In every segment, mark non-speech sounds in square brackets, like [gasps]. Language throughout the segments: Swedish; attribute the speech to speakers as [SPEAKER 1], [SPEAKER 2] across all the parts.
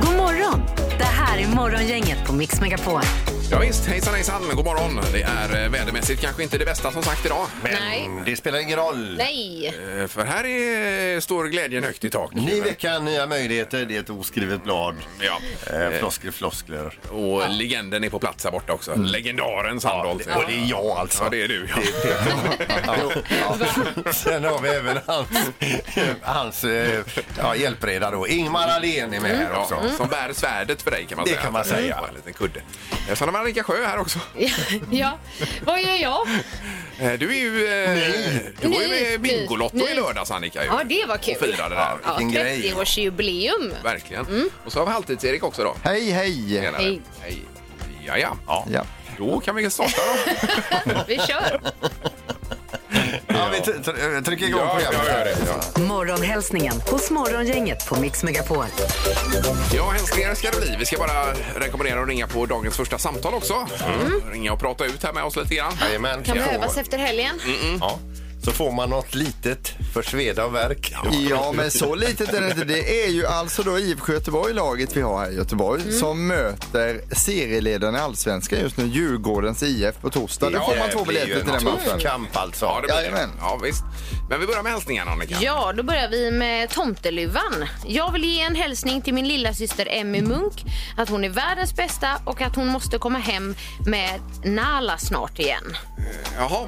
[SPEAKER 1] God morgon! Det här är Morgongänget på Mix Megapol.
[SPEAKER 2] Ja, visst, hejsan hejsan, god morgon. Det är eh, vädermässigt kanske inte det bästa som sagt idag. Men,
[SPEAKER 3] Nej.
[SPEAKER 4] Det spelar ingen roll.
[SPEAKER 3] Nej. [laughs]
[SPEAKER 2] eh, för här är, står glädjen högt i tak. Eh,
[SPEAKER 4] Ny vecka, nya möjligheter. Det är ett oskrivet blad.
[SPEAKER 2] Ja. Eh,
[SPEAKER 4] Eh, floskler, floskler.
[SPEAKER 2] Och legenden är på plats här borta också. Legendaren Sandholt.
[SPEAKER 4] Och Mm. det är jag alltså.
[SPEAKER 2] Ja, det är du. Ja.
[SPEAKER 4] Ja. Sen har vi även hans, hans eh, ja, hjälpreda då. Ingmar Ahlén är med
[SPEAKER 5] Mm.
[SPEAKER 4] här också.
[SPEAKER 2] Ja, som bär svärdet för dig kan man
[SPEAKER 4] Det
[SPEAKER 2] säga. Mm.
[SPEAKER 4] kan man säga.
[SPEAKER 2] En liten kudde. Eh, Sen har vi Annika Sjö här också.
[SPEAKER 3] ja, vad gör jag?
[SPEAKER 2] Eh, Du är ju... eh,
[SPEAKER 4] Nej.
[SPEAKER 2] Du var ju
[SPEAKER 3] Nej,
[SPEAKER 2] med Bingolotto
[SPEAKER 3] nej.
[SPEAKER 2] i lördags Annika. ju.
[SPEAKER 3] Ja, det var kul.
[SPEAKER 2] Och firade där.
[SPEAKER 3] Ja,
[SPEAKER 4] Vilken grej.
[SPEAKER 3] 30-årsjubileum.
[SPEAKER 2] Verkligen. Och så har vi Halvtids-Erik också då.
[SPEAKER 5] Hej, hej!
[SPEAKER 2] Senare.
[SPEAKER 3] Hej.
[SPEAKER 2] Hej. Ja, ja.
[SPEAKER 5] Ja.
[SPEAKER 2] Då kan vi starta då.
[SPEAKER 3] Vi kör.
[SPEAKER 4] Ja, vi tr-
[SPEAKER 2] eh,
[SPEAKER 4] tr- trycker igång
[SPEAKER 2] Ja,
[SPEAKER 4] programmet.
[SPEAKER 2] ja, ja, det, ja.
[SPEAKER 1] Morgonhälsningen hos Morgongänget på Mix Megapol.
[SPEAKER 2] Ja, hälsningar ska det bli. Vi ska bara rekommendera att ringa på dagens första samtal också. Ringa och prata ut här med oss lite grann.
[SPEAKER 4] Jajamän.
[SPEAKER 3] Kan
[SPEAKER 4] Så-
[SPEAKER 3] behövas efter helgen.
[SPEAKER 5] mm.
[SPEAKER 4] ja. Så får man något litet för sveda och värk.
[SPEAKER 5] Ja, men så litet är det inte. Det är ju alltså då IFK Göteborg, laget vi har här i Göteborg,
[SPEAKER 3] Mm.
[SPEAKER 5] som möter serieledarna i Allsvenskan just nu, Djurgårdens IF, på torsdag. Då får man två biljetter till den matchen.
[SPEAKER 4] matchen. kamp alltså.
[SPEAKER 2] Ja, det blir det.
[SPEAKER 5] Jajamän.
[SPEAKER 2] Ja, visst. Men vi börjar med hälsningarna, Annika.
[SPEAKER 3] Ja, då börjar vi med tomteluvan. Jag vill ge en hälsning till min lilla syster Emmy Munk att hon är världens bästa och att hon måste komma hem med Nala snart igen.
[SPEAKER 2] Jaha,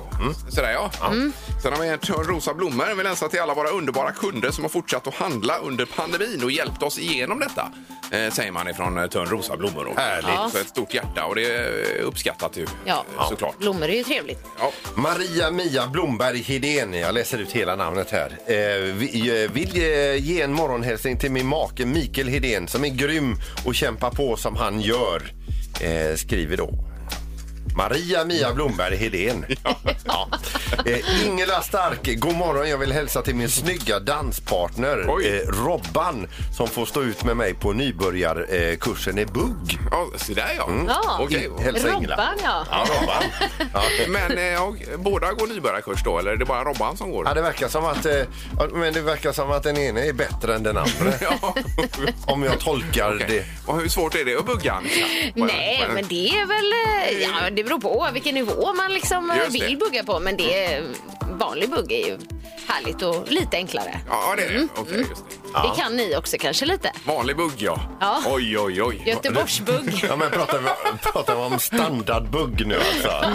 [SPEAKER 2] sådär Mm. ja. Sen har vi en törn rosa blommor. Vi länsar till alla våra underbara kunder som har fortsatt att handla under pandemin och hjälpt oss igenom detta. Eh, säger man ifrån eh, törn rosa blommor. då.
[SPEAKER 4] Härligt.
[SPEAKER 3] Ja.
[SPEAKER 2] Så ett stort hjärta och det är uppskattat ju.
[SPEAKER 3] Ja,
[SPEAKER 2] eh, Såklart.
[SPEAKER 3] blommor är ju trevligt.
[SPEAKER 2] Ja.
[SPEAKER 4] Maria Mia Blomberg Hedén, jag läser ut hela namnet här. Eh, vi- eh, vill eh, ge en morgonhälsning till min make Mikael Hedén som är grym och kämpar på som han gör, eh, skriver då. Maria Mia Blomberg Hedén. [laughs] Ja. Eh, Ingela Stark, god morgon. Jag vill hälsa till min snygga danspartner
[SPEAKER 2] Oj.
[SPEAKER 4] eh, Robban som får stå ut med mig på nybörjarkursen eh, kursen i bugg.
[SPEAKER 2] ja, så där ja.
[SPEAKER 3] Ja.
[SPEAKER 2] Okej.
[SPEAKER 4] Hälsa Ingela.
[SPEAKER 3] Robban, ja.
[SPEAKER 4] Ja, Robban. Ja.
[SPEAKER 2] Men eh, och, båda går nybörjarkurs då, eller är det bara Robban som går?
[SPEAKER 4] Ja, det verkar som att, eh, ja, men det verkar som att den ene är bättre än den andra.
[SPEAKER 2] [laughs] Ja.
[SPEAKER 4] [laughs] Om jag tolkar det.
[SPEAKER 2] Okej. Och hur svårt är det att bugga, Annika? Vad-
[SPEAKER 3] Nej,
[SPEAKER 2] vad-
[SPEAKER 3] men det är väl... eh, Ja, det beror på vilken nivå man liksom eh,
[SPEAKER 2] Just det.
[SPEAKER 3] vill bugga på. Men det är, vanlig bugg är ju härligt och lite enklare.
[SPEAKER 2] Ja, det är
[SPEAKER 3] Mm.
[SPEAKER 2] det. Okej, just det.
[SPEAKER 3] Det kan ni också kanske lite.
[SPEAKER 2] Vanlig bugg, ja.
[SPEAKER 3] Ja.
[SPEAKER 2] Oj, oj, oj.
[SPEAKER 3] Göteborgsbugg.
[SPEAKER 4] Ja, men pratar vi, pratar vi om standardbugg nu
[SPEAKER 2] [laughs]
[SPEAKER 4] alltså?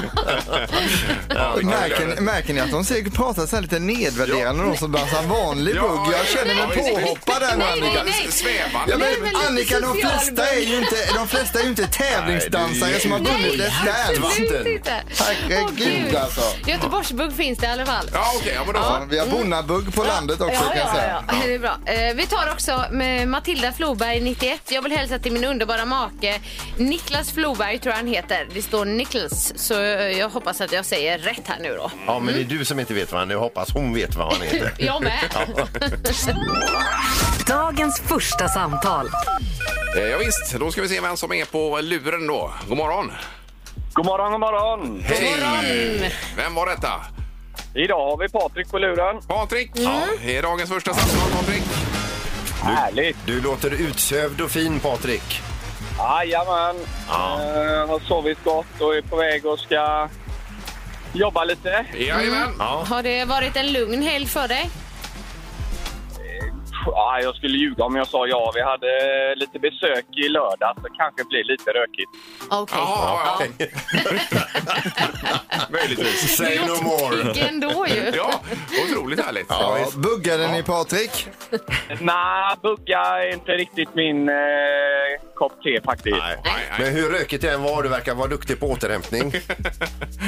[SPEAKER 2] Ja,
[SPEAKER 5] Märker, märker ni att de säger- pratar så här lite nedvärderande om de som dansar vanlig
[SPEAKER 2] Ja,
[SPEAKER 5] bugg?
[SPEAKER 2] ja,
[SPEAKER 5] Jag känner
[SPEAKER 2] ja,
[SPEAKER 5] mig
[SPEAKER 2] visst.
[SPEAKER 5] påhoppad där nu,
[SPEAKER 3] Nej, nej,
[SPEAKER 5] Annika.
[SPEAKER 3] nej.
[SPEAKER 5] Ja,
[SPEAKER 2] Svävande.
[SPEAKER 3] Nej, men
[SPEAKER 5] men
[SPEAKER 3] lite
[SPEAKER 5] Annika, de
[SPEAKER 3] social
[SPEAKER 5] flesta är ju inte, de flesta är ju inte tävlingsdansare [laughs] som har vunnit
[SPEAKER 3] Nej,
[SPEAKER 5] Let's Dance.
[SPEAKER 3] absolut
[SPEAKER 4] vatten.
[SPEAKER 3] inte.
[SPEAKER 5] Herregud,
[SPEAKER 3] Åh, gud.
[SPEAKER 5] alltså.
[SPEAKER 3] Göteborgsbugg finns det i alla fall.
[SPEAKER 2] Ja, okej. ja, men då så.
[SPEAKER 5] Ja, vi har bonnabugg på landet också
[SPEAKER 3] Mm. Ja,
[SPEAKER 5] kan jag
[SPEAKER 3] ja,
[SPEAKER 5] säga.
[SPEAKER 3] ja, ja. Det är bra. Eh, Vi tar också med Matilda Floberg, 91. Jag vill hälsa till min underbara make Niklas Floberg, tror jag han heter. Det står Niklas, så eh, jag hoppas att jag säger rätt här nu
[SPEAKER 5] [laughs]
[SPEAKER 3] då.
[SPEAKER 4] Ja, men det är du som inte vet vad han är. Jag hoppas hon vet vad han heter.
[SPEAKER 2] [laughs]
[SPEAKER 3] Jag med.
[SPEAKER 1] Dagens första samtal.
[SPEAKER 2] Eh, Ja, visst, då ska vi se vem som är på luren då. God morgon.
[SPEAKER 6] God morgon, god morgon.
[SPEAKER 2] Hej! Vem var detta?
[SPEAKER 6] Idag har vi Patrik på luren.
[SPEAKER 2] Patrik.
[SPEAKER 3] Mm.
[SPEAKER 2] Det är dagens första samtal, Patrik.
[SPEAKER 6] Härligt.
[SPEAKER 4] Du låter utsövd och fin, Patrik.
[SPEAKER 6] Jajamän.
[SPEAKER 4] Ja.
[SPEAKER 6] Eh, har sovit gott och är på väg och ska jobba lite.
[SPEAKER 2] Jajamän.
[SPEAKER 4] Ja.
[SPEAKER 3] [laughs] Har det varit en lugn helg för dig?
[SPEAKER 6] Pff, Ah, jag skulle ljuga om jag sa ja. Vi hade eh, lite besök i lördag så kanske blir lite rökigt.
[SPEAKER 3] Okej.
[SPEAKER 2] Jaha, ja. [laughs] Möjligtvis.
[SPEAKER 4] Say no more.
[SPEAKER 3] Pigg ändå
[SPEAKER 5] [laughs]
[SPEAKER 3] ju.
[SPEAKER 2] [laughs] Ja, otroligt härligt.
[SPEAKER 5] Ja, buggade ni Patrik?
[SPEAKER 6] Nej, bugga är inte riktigt min eh, kopp te faktiskt.
[SPEAKER 4] Nej.
[SPEAKER 2] Nej, nej.
[SPEAKER 4] Men hur rökigt det än var, du verkar vara duktig på
[SPEAKER 2] [laughs]
[SPEAKER 4] återhämtning.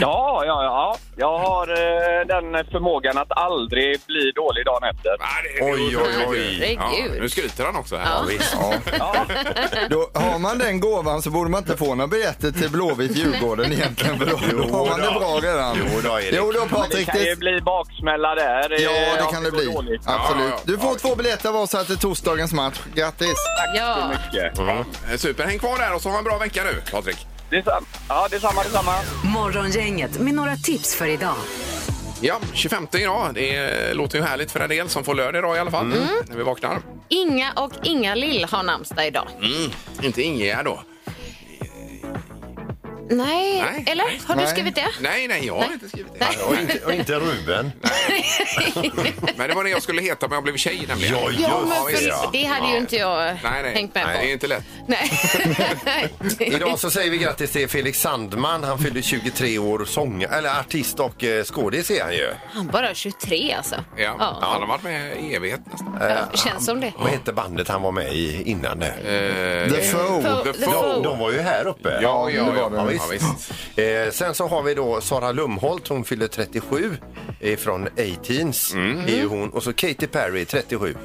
[SPEAKER 6] Ja, ja, ja. Jag har eh, den förmågan att aldrig bli dålig dagen efter.
[SPEAKER 2] Nej, det är
[SPEAKER 4] Oj, oj, oj.
[SPEAKER 2] otroligt. Ja,
[SPEAKER 3] Herregud.
[SPEAKER 2] nu skryter han också. Här.
[SPEAKER 3] Ja.
[SPEAKER 4] Visst.
[SPEAKER 5] Ja. Då har har man den gåvan så borde man inte få några biljetter till Blåvitt-Djurgården egentligen. För då, då har man det bra redan.
[SPEAKER 4] Jo då, Erik.
[SPEAKER 5] Jo då
[SPEAKER 6] Det
[SPEAKER 5] Patrik.
[SPEAKER 6] kan ju
[SPEAKER 5] Det,
[SPEAKER 6] bli baksmälla där. eh,
[SPEAKER 5] ja, det
[SPEAKER 6] om
[SPEAKER 5] kan det
[SPEAKER 6] går
[SPEAKER 5] bli.
[SPEAKER 6] dåligt.
[SPEAKER 5] Absolut.
[SPEAKER 2] Ja, ja,
[SPEAKER 5] Du får
[SPEAKER 2] ja.
[SPEAKER 5] två biljetter var så här till torsdagens match. Grattis!
[SPEAKER 3] Ja.
[SPEAKER 2] Eh, Super, häng kvar där och så ha en bra vecka nu, Patrik.
[SPEAKER 6] Detsamma. Ja, detsamma, detsamma.
[SPEAKER 1] Morgongänget med några tips för idag.
[SPEAKER 2] Ja, 25 idag. Det eh, låter ju härligt för en del som får lördag idag i alla fall, när vi vaknar.
[SPEAKER 3] Inga och Inga Lill har namnsdag idag.
[SPEAKER 2] Mm. Inte Ingegärd då.
[SPEAKER 3] Nej,
[SPEAKER 2] Nej.
[SPEAKER 3] eller? Har du
[SPEAKER 5] Nej.
[SPEAKER 3] skrivit det?
[SPEAKER 2] Nej, nej, jag har inte skrivit det.
[SPEAKER 3] Nej.
[SPEAKER 4] Och inte, och inte Ruben.
[SPEAKER 2] Men det var det jag skulle heta om jag blev tjej nämligen.
[SPEAKER 4] Ja, just
[SPEAKER 3] Ja, men
[SPEAKER 2] visst,
[SPEAKER 3] för,
[SPEAKER 4] ja.
[SPEAKER 3] det hade ju inte jag
[SPEAKER 2] Nej, nej.
[SPEAKER 3] tänkt med på.
[SPEAKER 2] nej, Det är inte lätt.
[SPEAKER 3] Nej.
[SPEAKER 4] Idag så säger vi grattis till Felix Sandman. Han fyllde 23 år, sång, eller artist och eh, skådis är han ju.
[SPEAKER 3] Han bara 23 alltså.
[SPEAKER 2] Ja. Han har varit med i evighet nästan.
[SPEAKER 3] Ja, Känns som det.
[SPEAKER 4] Vad hette bandet han var med i innan det?
[SPEAKER 5] The Foe.
[SPEAKER 2] Eh, The
[SPEAKER 3] The
[SPEAKER 2] Foe.
[SPEAKER 3] Foe.
[SPEAKER 4] De var ju här uppe.
[SPEAKER 2] Ja, ja,
[SPEAKER 5] det var
[SPEAKER 2] ja,
[SPEAKER 5] det.
[SPEAKER 2] ja, visst. ja visst.
[SPEAKER 4] Eh, sen så har vi då Sara Lumholt, hon fyller 37 eh, från 18s. Är ju hon. Och så Katy Perry, 37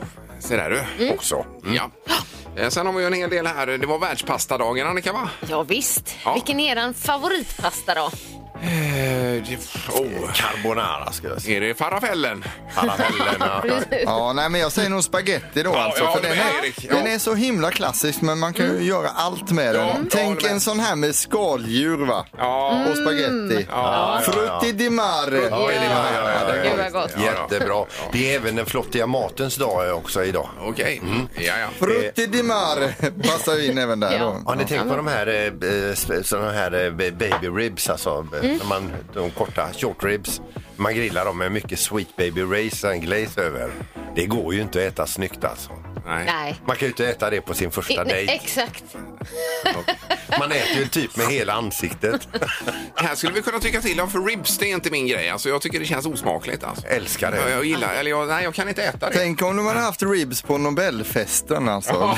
[SPEAKER 2] Se där
[SPEAKER 3] Mm.
[SPEAKER 2] du.
[SPEAKER 4] också.
[SPEAKER 2] Ja. Eh, Sen har vi ju en hel del här. Det var världspastadagen, Annika, va?
[SPEAKER 3] Ja, visst.
[SPEAKER 2] Ja.
[SPEAKER 3] Vilken är eran favoritpasta då?
[SPEAKER 2] Oh.
[SPEAKER 4] Eh, Carbonara ska jag säga.
[SPEAKER 2] Är det farafellen?
[SPEAKER 4] Parapellerna.
[SPEAKER 5] Ja, nej men jag säger nog spaghetti då alltså.
[SPEAKER 2] jag
[SPEAKER 5] För
[SPEAKER 2] håller
[SPEAKER 5] den,
[SPEAKER 2] med,
[SPEAKER 5] är,
[SPEAKER 2] Erik. Ja.
[SPEAKER 5] den är så himla klassisk men man kan ju
[SPEAKER 3] Mm.
[SPEAKER 5] göra allt med
[SPEAKER 2] jag
[SPEAKER 5] den.
[SPEAKER 2] håller
[SPEAKER 5] Tänk
[SPEAKER 2] med.
[SPEAKER 5] en sån här med skaldjur va?
[SPEAKER 2] Ja.
[SPEAKER 5] Och spaghetti. Frutti di mare.
[SPEAKER 3] Gud vad gott.
[SPEAKER 4] Jättebra. Det är även den flottiga matens dag också idag.
[SPEAKER 2] Okej. Mm. Ja, ja.
[SPEAKER 5] Frutti di mare passar ju in även där
[SPEAKER 3] Ja.
[SPEAKER 5] då.
[SPEAKER 4] Har ni tänkt på de här, eh, eh, sp- såna här eh, ba- baby ribs, alltså eh,
[SPEAKER 3] Mm.
[SPEAKER 4] när man, de korta short ribs. Man grillar dem med mycket sweet baby rays and glaze över. Det går ju inte att äta snyggt alltså.
[SPEAKER 2] Nej.
[SPEAKER 3] Nej.
[SPEAKER 4] Man kan ju inte äta det på sin första
[SPEAKER 3] I- nej,
[SPEAKER 4] dejt.
[SPEAKER 2] [laughs]
[SPEAKER 3] Exakt.
[SPEAKER 4] Man äter ju typ med hela
[SPEAKER 3] [laughs]
[SPEAKER 4] ansiktet.
[SPEAKER 2] Här skulle vi kunna tycka till om, för ribs det är inte min grej. Alltså, jag tycker det känns osmakligt. Alltså.
[SPEAKER 4] Älskar det.
[SPEAKER 2] Jag, jag gillar, eller jag, nej, jag kan inte äta det.
[SPEAKER 5] Tänk om de hade haft ribs på Nobelfesten alltså.
[SPEAKER 2] [laughs] Ja,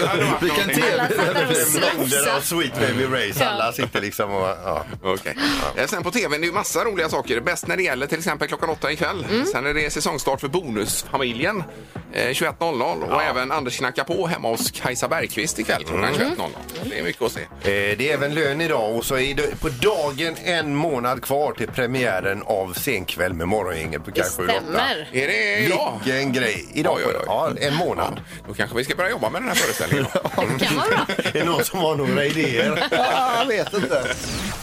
[SPEAKER 2] det hade varit
[SPEAKER 5] Vilken
[SPEAKER 2] någonting.
[SPEAKER 5] tv!
[SPEAKER 3] Fattar du?
[SPEAKER 4] Mängder av
[SPEAKER 3] Slafsa.
[SPEAKER 4] sweet baby rays. Alla sitter liksom och... Ja.
[SPEAKER 2] Okej. Eh, Sen på tv, det är ju massa roliga saker. Bäst när det gäller till exempel klockan åtta ikväll. Sen är det säsongstart för Bonusfamiljen eh, 21.00 och även Anders knackar på hemma hos Kajsa Bergqvist ikväll klockan 21.00. Det är mycket att se.
[SPEAKER 4] Eh, Det är även lön idag och så är det på dagen en månad kvar till premiären av Senkväll med Morgongänget på
[SPEAKER 3] Det
[SPEAKER 4] kanske 8.
[SPEAKER 3] stämmer.
[SPEAKER 2] Är det idag?
[SPEAKER 4] Vilken grej! Idag,
[SPEAKER 2] Oj, oj, oj.
[SPEAKER 4] Ja, en månad.
[SPEAKER 2] Då kanske vi ska börja jobba med den här föreställningen. då. Mm.
[SPEAKER 3] Det kan vara bra.
[SPEAKER 4] [laughs] är det någon som har några idéer?
[SPEAKER 5] Ah, [laughs] Jag vet inte.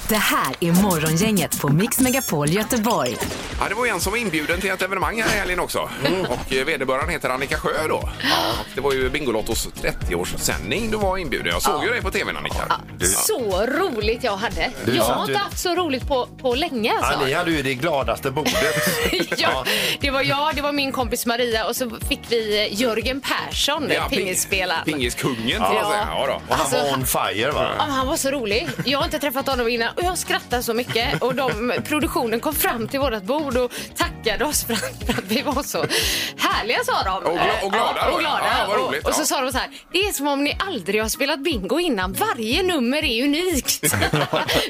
[SPEAKER 1] Det här är Morgongänget på Mix Megapol Göteborg.
[SPEAKER 2] ja, det var ju en som var inbjuden till ett evenemang här i helgen också. Och eh, vederbörande heter Annika Sjö då. Och det var ju Bingolottos 30-årssändning du var inbjuden. Jag såg ju dig på tvn Annika.
[SPEAKER 3] Så roligt jag hade.
[SPEAKER 4] Du
[SPEAKER 3] jag
[SPEAKER 4] satt
[SPEAKER 3] har inte
[SPEAKER 4] ju-
[SPEAKER 3] haft så roligt på, på länge.
[SPEAKER 4] Ja,
[SPEAKER 3] Alltså.
[SPEAKER 4] ni hade ju det gladaste bordet.
[SPEAKER 3] [laughs] ja, det var jag, det var min kompis Maria och så fick vi eh, Jörgen Persson,
[SPEAKER 2] Ja, ping-
[SPEAKER 3] pingisspelaren.
[SPEAKER 2] Pingiskungen kan man säga. Ja, då.
[SPEAKER 4] Och han
[SPEAKER 3] Alltså,
[SPEAKER 4] var on fire
[SPEAKER 3] Ja,
[SPEAKER 4] va?
[SPEAKER 3] men han var så rolig. Jag har inte träffat honom innan och jag skrattade så mycket. Och de, produktionen kom fram till vårt bord och tackade oss för att, för att vi var så härliga sa de.
[SPEAKER 2] Och gla- och glada
[SPEAKER 3] Ja,
[SPEAKER 2] då,
[SPEAKER 3] och, glada.
[SPEAKER 2] ja. Ja, vad roligt,
[SPEAKER 3] och, och så
[SPEAKER 2] ja.
[SPEAKER 3] sa de så här, det är som om ni aldrig har spelat bingo innan. Varje nummer
[SPEAKER 2] [laughs]
[SPEAKER 3] är unikt.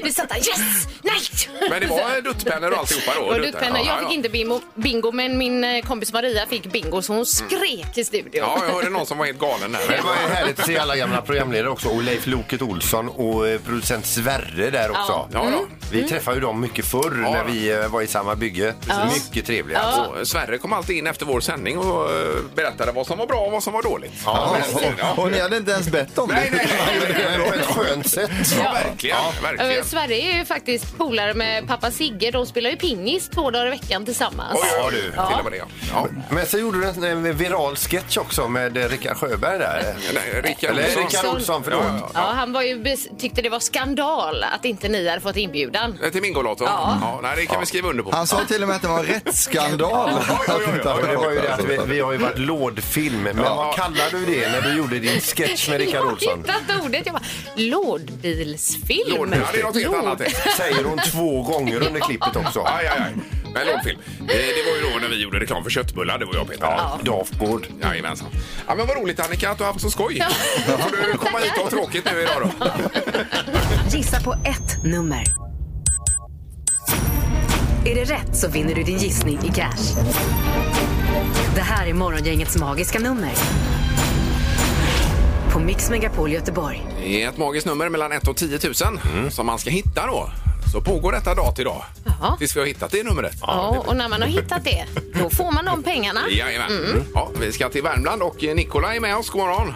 [SPEAKER 3] vi satt där, yes, nej.
[SPEAKER 2] Men det var duttpennor och alltihopa då?
[SPEAKER 3] Det var
[SPEAKER 2] Dutt-
[SPEAKER 3] duttpennor.
[SPEAKER 2] Ja,
[SPEAKER 3] Jag
[SPEAKER 2] ja.
[SPEAKER 3] fick inte bingo, bingo, men min eh, kompis Maria fick bingo så hon skrek i studion.
[SPEAKER 2] Mm. Ja, jag
[SPEAKER 3] [laughs]
[SPEAKER 2] hörde någon som var helt galen
[SPEAKER 4] Men det
[SPEAKER 2] där.
[SPEAKER 4] var ju härligt att se alla gamla programledare också och Leif Loket Olsson och eh, producent Sverre där också.
[SPEAKER 2] Ja, då.
[SPEAKER 4] Vi träffade ju dem mycket förr
[SPEAKER 2] Ja.
[SPEAKER 4] när vi eh, var i samma bygge. Mycket trevliga. alltså.
[SPEAKER 2] Och Sverre kom alltid in efter vår sändning och eh, berättade vad som var bra och vad som var dåligt.
[SPEAKER 4] Ja,
[SPEAKER 2] Men- ja.
[SPEAKER 5] Och ni hade inte ens bett om
[SPEAKER 2] Nej,
[SPEAKER 5] det.
[SPEAKER 2] nej,
[SPEAKER 4] [laughs]
[SPEAKER 2] nej.
[SPEAKER 4] Men på ett skönt sätt.
[SPEAKER 2] Ja, verkligen.
[SPEAKER 3] Eh,
[SPEAKER 2] verkligen.
[SPEAKER 3] Sverige är ju faktiskt polare med pappa Sigge. De spelar ju pingis två dagar i veckan tillsammans.
[SPEAKER 2] Oj, oj, oj. Till och med det. ja. Ja.
[SPEAKER 4] Men så gjorde du en eh, viral sketch också med eh, Rickard Sjöberg där.
[SPEAKER 2] Nej, Rickard
[SPEAKER 4] Eller
[SPEAKER 2] Olsson.
[SPEAKER 4] Rickard Olsson, förlåt.
[SPEAKER 2] Ja, ja,
[SPEAKER 3] Ja, han var ju bes- tyckte det var skandal att inte ni hade fått inbjudan.
[SPEAKER 2] ja. Till Bingolotto? Ja. Nej, det kan vi skriva under på.
[SPEAKER 5] Han sa till och med att det var en rättsskandal.
[SPEAKER 2] oj, oj, oj.
[SPEAKER 4] Ja, det var ju det att vi, vi har ju varit lådfilm, men vad kallar du det när du gjorde din sketch med Rickard
[SPEAKER 3] [laughs] Jag har
[SPEAKER 4] Olsson?
[SPEAKER 3] hittat ordet. Jag bara, lådbilsfilm.
[SPEAKER 2] Lån- Ja, det är något helt annat. det.
[SPEAKER 4] Säger hon två gånger under klippet också.
[SPEAKER 2] Aj, aj, aj. Men långfilm. Eh, Det var ju då när vi gjorde reklam för köttbullar, det var jag och Peter.
[SPEAKER 4] Ja, Dafgård.
[SPEAKER 2] Jajamensan. Ja, men vad roligt Annika att du har haft så skoj. Då får du komma hit och ha tråkigt nu idag då. [laughs]
[SPEAKER 1] Gissa på ett nummer. Är det rätt så vinner du din gissning i cash. Det här är Morgongängets magiska nummer. på Mix Megapol Göteborg.
[SPEAKER 2] Det är ett magiskt nummer mellan 1 och 10 000 som man ska hitta då. Så pågår detta dag till dag.
[SPEAKER 3] Jaha.
[SPEAKER 2] Tills vi har hittat det numret.
[SPEAKER 3] Ja, och när man har hittat det, då får man de pengarna.
[SPEAKER 2] Jajamän.
[SPEAKER 3] Mm.
[SPEAKER 2] Ja, vi ska till Värmland och Nikolaj är med oss. God morgon.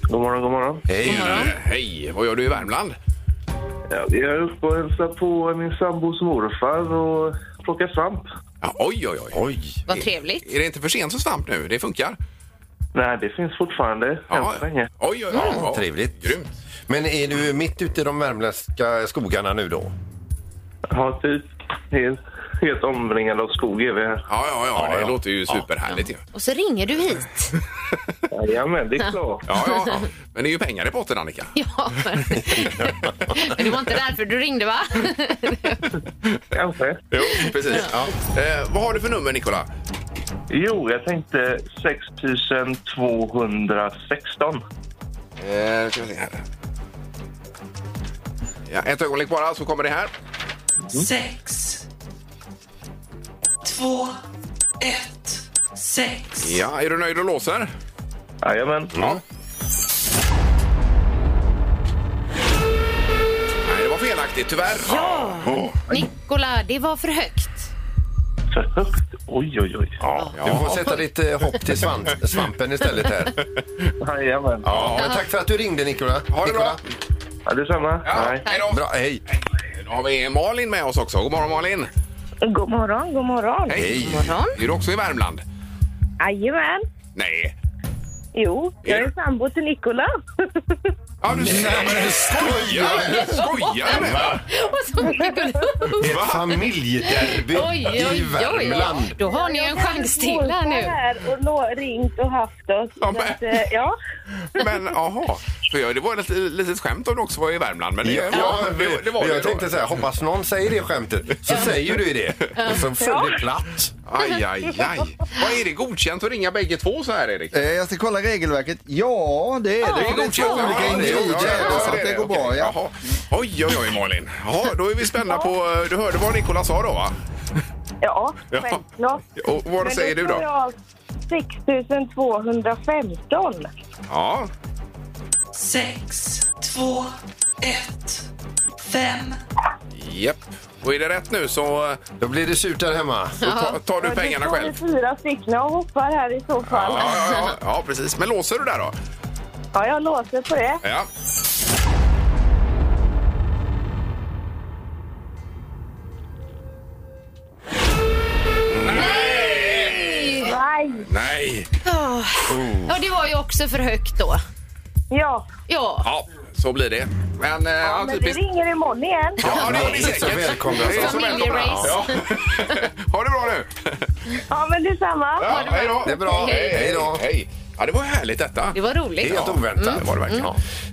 [SPEAKER 6] God morgon, god morgon.
[SPEAKER 2] Hej.
[SPEAKER 3] morgon.
[SPEAKER 2] Hej. Vad gör du i Värmland?
[SPEAKER 6] Ja, jag är uppe och hälsar på min sambos morfar och plockar svamp.
[SPEAKER 2] Ja, oj, oj, oj.
[SPEAKER 4] Oj!
[SPEAKER 3] Vad trevligt.
[SPEAKER 2] Är det inte för sent så svamp nu? Det funkar?
[SPEAKER 6] Nej, det finns fortfarande. Än så länge.
[SPEAKER 2] Oj, oj, oj. Ja,
[SPEAKER 4] Trevligt.
[SPEAKER 2] Grymt.
[SPEAKER 4] Men är du mitt ute i de värmländska skogarna nu då?
[SPEAKER 6] Ja, typ. Helt, helt omringad av skog är vi här.
[SPEAKER 2] Ja, ja, ja. Det
[SPEAKER 4] ja.
[SPEAKER 2] låter ju superhärligt ju.
[SPEAKER 3] Och så ringer du
[SPEAKER 2] [laughs]
[SPEAKER 3] hit.
[SPEAKER 6] Jajamän, det är klart.
[SPEAKER 2] Ja, ja, ja. Men det är ju pengar i potten, Annika.
[SPEAKER 3] Ja, men men det var inte därför du ringde, va?
[SPEAKER 6] Kanske.
[SPEAKER 2] [laughs] Jo, precis. Eh, vad har du för nummer, Nikola?
[SPEAKER 6] Jo, jag tänkte 6216.
[SPEAKER 2] Eh, ska vi se här. Ja, ett ögonblick bara, så kommer det här.
[SPEAKER 7] Sex. Två. Ett. Sex.
[SPEAKER 2] Ja, är du nöjd och låser?
[SPEAKER 6] Jajamän.
[SPEAKER 2] Ja. Nej, det var felaktigt, tyvärr. Ja.
[SPEAKER 3] Nikola, det var för högt.
[SPEAKER 6] För högt. Oj, oj, oj.
[SPEAKER 4] Ja. Du får sätta ditt eh, hopp till svamp, svampen istället här.
[SPEAKER 6] Jajamän.
[SPEAKER 4] Ja, men tack för att du ringde Nicola.
[SPEAKER 2] Ha det bra.
[SPEAKER 4] Nicola.
[SPEAKER 6] Ja, detsamma.
[SPEAKER 2] Ja,
[SPEAKER 6] Nej.
[SPEAKER 2] hej då.
[SPEAKER 4] Bra, hej.
[SPEAKER 2] Då har vi Malin med oss också. God morgon, Malin.
[SPEAKER 8] God morgon, god morgon.
[SPEAKER 2] Hej. Är du också i Värmland?
[SPEAKER 8] Jajamän.
[SPEAKER 2] Nej.
[SPEAKER 8] Jo, jag är sambo till Nikola.
[SPEAKER 2] Ja, du Nej, skojar! Skojar du? Va?
[SPEAKER 3] Och så Nikola.
[SPEAKER 4] Ett familjedeby
[SPEAKER 3] Oj, oj,
[SPEAKER 4] i
[SPEAKER 3] oj,
[SPEAKER 4] Värmland.
[SPEAKER 3] oj. Då har ni en chans till här nu.
[SPEAKER 8] här och nå- ringt och haft oss.
[SPEAKER 2] Ja,
[SPEAKER 8] Ja,
[SPEAKER 2] men-
[SPEAKER 8] att, eh, ja.
[SPEAKER 2] Men jaha. För jag, det var ett litet, litet skämt om du också var i Värmland. Men det,
[SPEAKER 4] Ja, ja,
[SPEAKER 2] det, det var
[SPEAKER 4] jag
[SPEAKER 2] ju då.
[SPEAKER 4] tänkte så här, hoppas någon säger det skämtet. Så säger du det. Och så föll det platt.
[SPEAKER 2] Aj, aj, aj. Vad är det godkänt att ringa bägge två så här, Erik?
[SPEAKER 5] Eh, Jag ska kolla regelverket. Ja, det är det. Det är lite
[SPEAKER 2] godkänt.
[SPEAKER 5] olika
[SPEAKER 2] Ja, det är-
[SPEAKER 5] individer,
[SPEAKER 2] ja, ja,
[SPEAKER 5] så att
[SPEAKER 2] är
[SPEAKER 5] det går
[SPEAKER 2] Okej.
[SPEAKER 5] bra. Ja.
[SPEAKER 2] Jaha. Oj, oj, oj, Malin. Jaha, då är vi spända på... eh, Du hörde vad Nikola sa då, va?
[SPEAKER 8] ja,
[SPEAKER 2] Ja.
[SPEAKER 8] självklart.
[SPEAKER 2] Och vad säger du då?
[SPEAKER 8] 6215.
[SPEAKER 2] Ja.
[SPEAKER 7] Sex. Två. Ett. Fem.
[SPEAKER 2] Japp. Och är det rätt nu så eh,
[SPEAKER 4] Då blir det surt där hemma.
[SPEAKER 2] då ta- tar du
[SPEAKER 8] Ja,
[SPEAKER 2] pengarna
[SPEAKER 8] det står
[SPEAKER 2] själv.
[SPEAKER 8] fyra stycken och hoppar här i så fall.
[SPEAKER 2] Ja,
[SPEAKER 8] Ja,
[SPEAKER 2] ja, ja, ja, precis. Men låser du där då?
[SPEAKER 8] jag låser på det.
[SPEAKER 2] Ja.
[SPEAKER 8] Nej,
[SPEAKER 2] Nej.
[SPEAKER 3] Ja, det var ju också för högt då.
[SPEAKER 8] ja.
[SPEAKER 3] Ja,
[SPEAKER 2] Ja, så blir det. Men, eh, ja,
[SPEAKER 8] Men vi
[SPEAKER 2] typiskt.
[SPEAKER 8] ringer imorgon igen.
[SPEAKER 2] Ja, det gör ni
[SPEAKER 4] Så
[SPEAKER 2] säkert.
[SPEAKER 4] välkomna.
[SPEAKER 2] Det är så välkomna.
[SPEAKER 3] Familjerace.
[SPEAKER 2] Ja. [laughs] Ha det bra nu.
[SPEAKER 8] Ja, men detsamma.
[SPEAKER 2] Ja, hej då.
[SPEAKER 4] Det är bra.
[SPEAKER 2] Hej, hej då.
[SPEAKER 4] Hej.
[SPEAKER 2] Hej. Ja, det var härligt detta.
[SPEAKER 3] det var roligt.
[SPEAKER 4] Helt oväntat.
[SPEAKER 2] Det var det verkligen.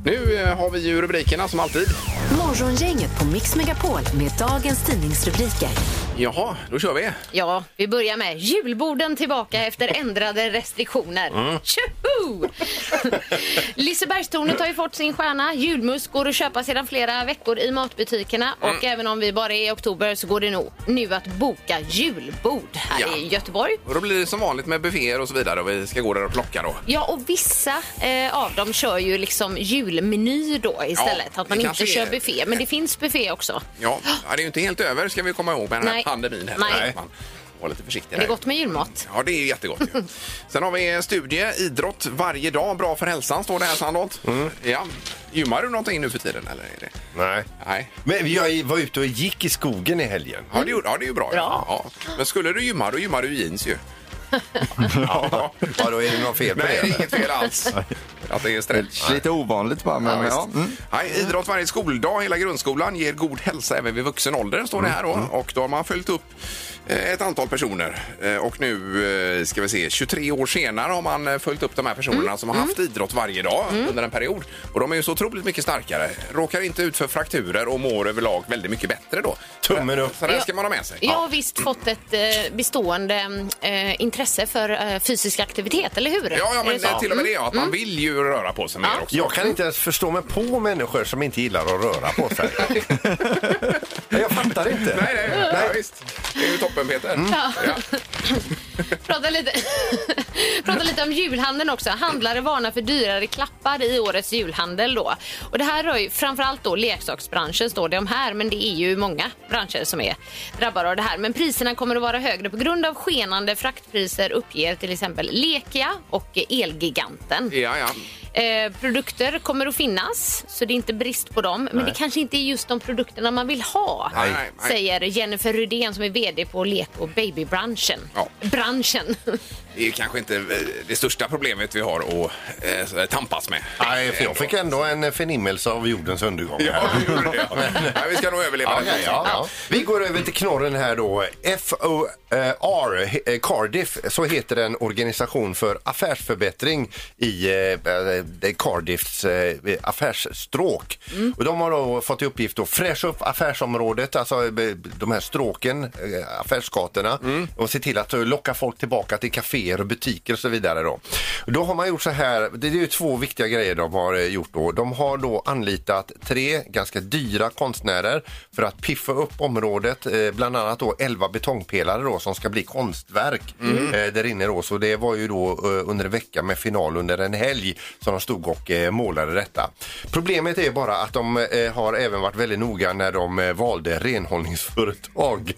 [SPEAKER 2] Nu eh, har vi ju rubrikerna som alltid.
[SPEAKER 1] Morgongänget på Mix Megapol med dagens tidningsrubriker.
[SPEAKER 2] Jaha, då kör vi.
[SPEAKER 3] Ja, vi börjar med julborden tillbaka efter ändrade restriktioner.
[SPEAKER 2] Mm.
[SPEAKER 3] Tjoho! [laughs] Lisebergstornet har ju fått sin stjärna. Julmust går att köpa sedan flera veckor i matbutikerna och
[SPEAKER 2] Mm.
[SPEAKER 3] även om vi bara är i oktober så går det nog nu att boka julbord här
[SPEAKER 2] Ja.
[SPEAKER 3] i Göteborg.
[SPEAKER 2] Och då blir det som vanligt med bufféer och så vidare och vi ska gå där och plocka då.
[SPEAKER 3] Ja, och vissa eh, av dem kör ju liksom julmeny då istället.
[SPEAKER 2] Ja,
[SPEAKER 3] att man
[SPEAKER 2] det
[SPEAKER 3] inte
[SPEAKER 2] kanske
[SPEAKER 3] kör
[SPEAKER 2] är-
[SPEAKER 3] buffé. Men det finns buffé också. [gasps]
[SPEAKER 2] Ja, ja, det är ju inte helt över ska vi komma ihåg med den här
[SPEAKER 3] Nej.
[SPEAKER 2] pandemin. Heller.
[SPEAKER 3] Nej.
[SPEAKER 2] Man var lite försiktig
[SPEAKER 3] Det
[SPEAKER 2] där.
[SPEAKER 3] är gott med julmat.
[SPEAKER 2] Ja, det är ju jättegott. ju.
[SPEAKER 3] [laughs]
[SPEAKER 2] Sen har vi en studie, idrott varje dag, bra för hälsan, står det här Sandholt.
[SPEAKER 4] Mm.
[SPEAKER 2] Ja. Gymmar du någonting nu för tiden eller? Är det?
[SPEAKER 4] Nej.
[SPEAKER 2] Nej.
[SPEAKER 4] Men jag var ute och gick i skogen i helgen.
[SPEAKER 2] Ja,
[SPEAKER 3] Mm.
[SPEAKER 2] det, gjorde- ja, det är ju bra. Ja. Ja. Men skulle du gymma, då gymmar du i jeans
[SPEAKER 3] [laughs]
[SPEAKER 2] ju. [laughs]
[SPEAKER 4] Ja, då är det något fel på
[SPEAKER 2] Nej, det är
[SPEAKER 4] det.
[SPEAKER 2] inget fel alls att det är stretch.
[SPEAKER 5] Lite ovanligt bara,
[SPEAKER 2] Ja,
[SPEAKER 5] men
[SPEAKER 2] visst.
[SPEAKER 5] ja. Mm.
[SPEAKER 2] Nej, idrott varje skoldag, hela grundskolan, ger god hälsa även vid vuxen ålder, står det här då. Och då har man följt upp eh, ett antal personer. Eh, Och nu eh, ska vi se, 23 år senare har man eh, följt upp de här personerna som har haft idrott varje dag under en period. Och de är ju så otroligt mycket starkare, råkar inte ut för frakturer och mår överlag väldigt mycket bättre då.
[SPEAKER 4] Tummen upp.
[SPEAKER 2] Så det här ska man ha med sig.
[SPEAKER 3] Jag har visst fått ett eh, bestående eh, intresse för eh, fysisk aktivitet, eller hur?
[SPEAKER 2] Ja, ja,
[SPEAKER 3] Är
[SPEAKER 2] men
[SPEAKER 3] det så?
[SPEAKER 2] eh, till och med det, ja, att man vill ju röra på sig mer också.
[SPEAKER 4] Jag
[SPEAKER 2] [laughs]
[SPEAKER 4] kan inte ens förstå mig på människor som inte gillar att röra på sig. jag fattar inte.
[SPEAKER 2] [laughs] Nej, nej, nej. Ja, visst. Det är ju toppen, Peter. Ja.
[SPEAKER 3] Prata lite, [laughs] prata lite om julhandeln också. Handlare varnar för dyrare klappar i årets julhandel. Då. Och det här rör ju framförallt då leksaksbranschen, står det om här. Men det är ju många branscher som är drabbade av det här. Men priserna kommer att vara högre på grund av skenande fraktpriser uppger till exempel Lekia och Elgiganten.
[SPEAKER 2] Ja, ja.
[SPEAKER 3] Eh, produkter kommer att finnas, så det är inte brist på dem. Men det kanske inte är just de produkterna man vill ha,
[SPEAKER 2] Nej, nej, nej.
[SPEAKER 3] säger Jennifer Rudén som är VD på lek och babybranschen.
[SPEAKER 2] Ja.
[SPEAKER 3] Branschen.
[SPEAKER 2] Det är ju kanske inte eh, det största problemet vi har att eh, tampas med.
[SPEAKER 4] Nej, för jag fick ändå en förnimmelse av jordens undergång.
[SPEAKER 2] Ja, vi gjorde det.
[SPEAKER 4] [laughs]
[SPEAKER 2] Ja. Nej, vi ska nog överleva
[SPEAKER 4] Ja,
[SPEAKER 2] det.
[SPEAKER 4] ja, ja, ja. Vi går över till knorren här då. FOR, eh, Cardiff, så heter den organisation för affärsförbättring i eh, eh, det- Cardiffs eh, affärsstråk. Och de har då fått i uppgift att fräscha upp affärsområdet, alltså eh, de här stråken, eh, affärsgatorna och se till att eh, locka folk tillbaka till kaféer och butiker och så vidare. Då, då har man gjort så här, det är ju två viktiga grejer de har eh, gjort då. De har då anlitat tre ganska dyra konstnärer för att piffa upp området, eh, bland annat då 11 betongpelare då som ska bli konstverk
[SPEAKER 2] Mm.
[SPEAKER 4] eh, där inne då. Så det var ju då eh, under en vecka med final under en helg som de stod och eh, målade detta. Problemet är bara att de eh, har även varit väldigt noga när de eh, valde renhållningsföretag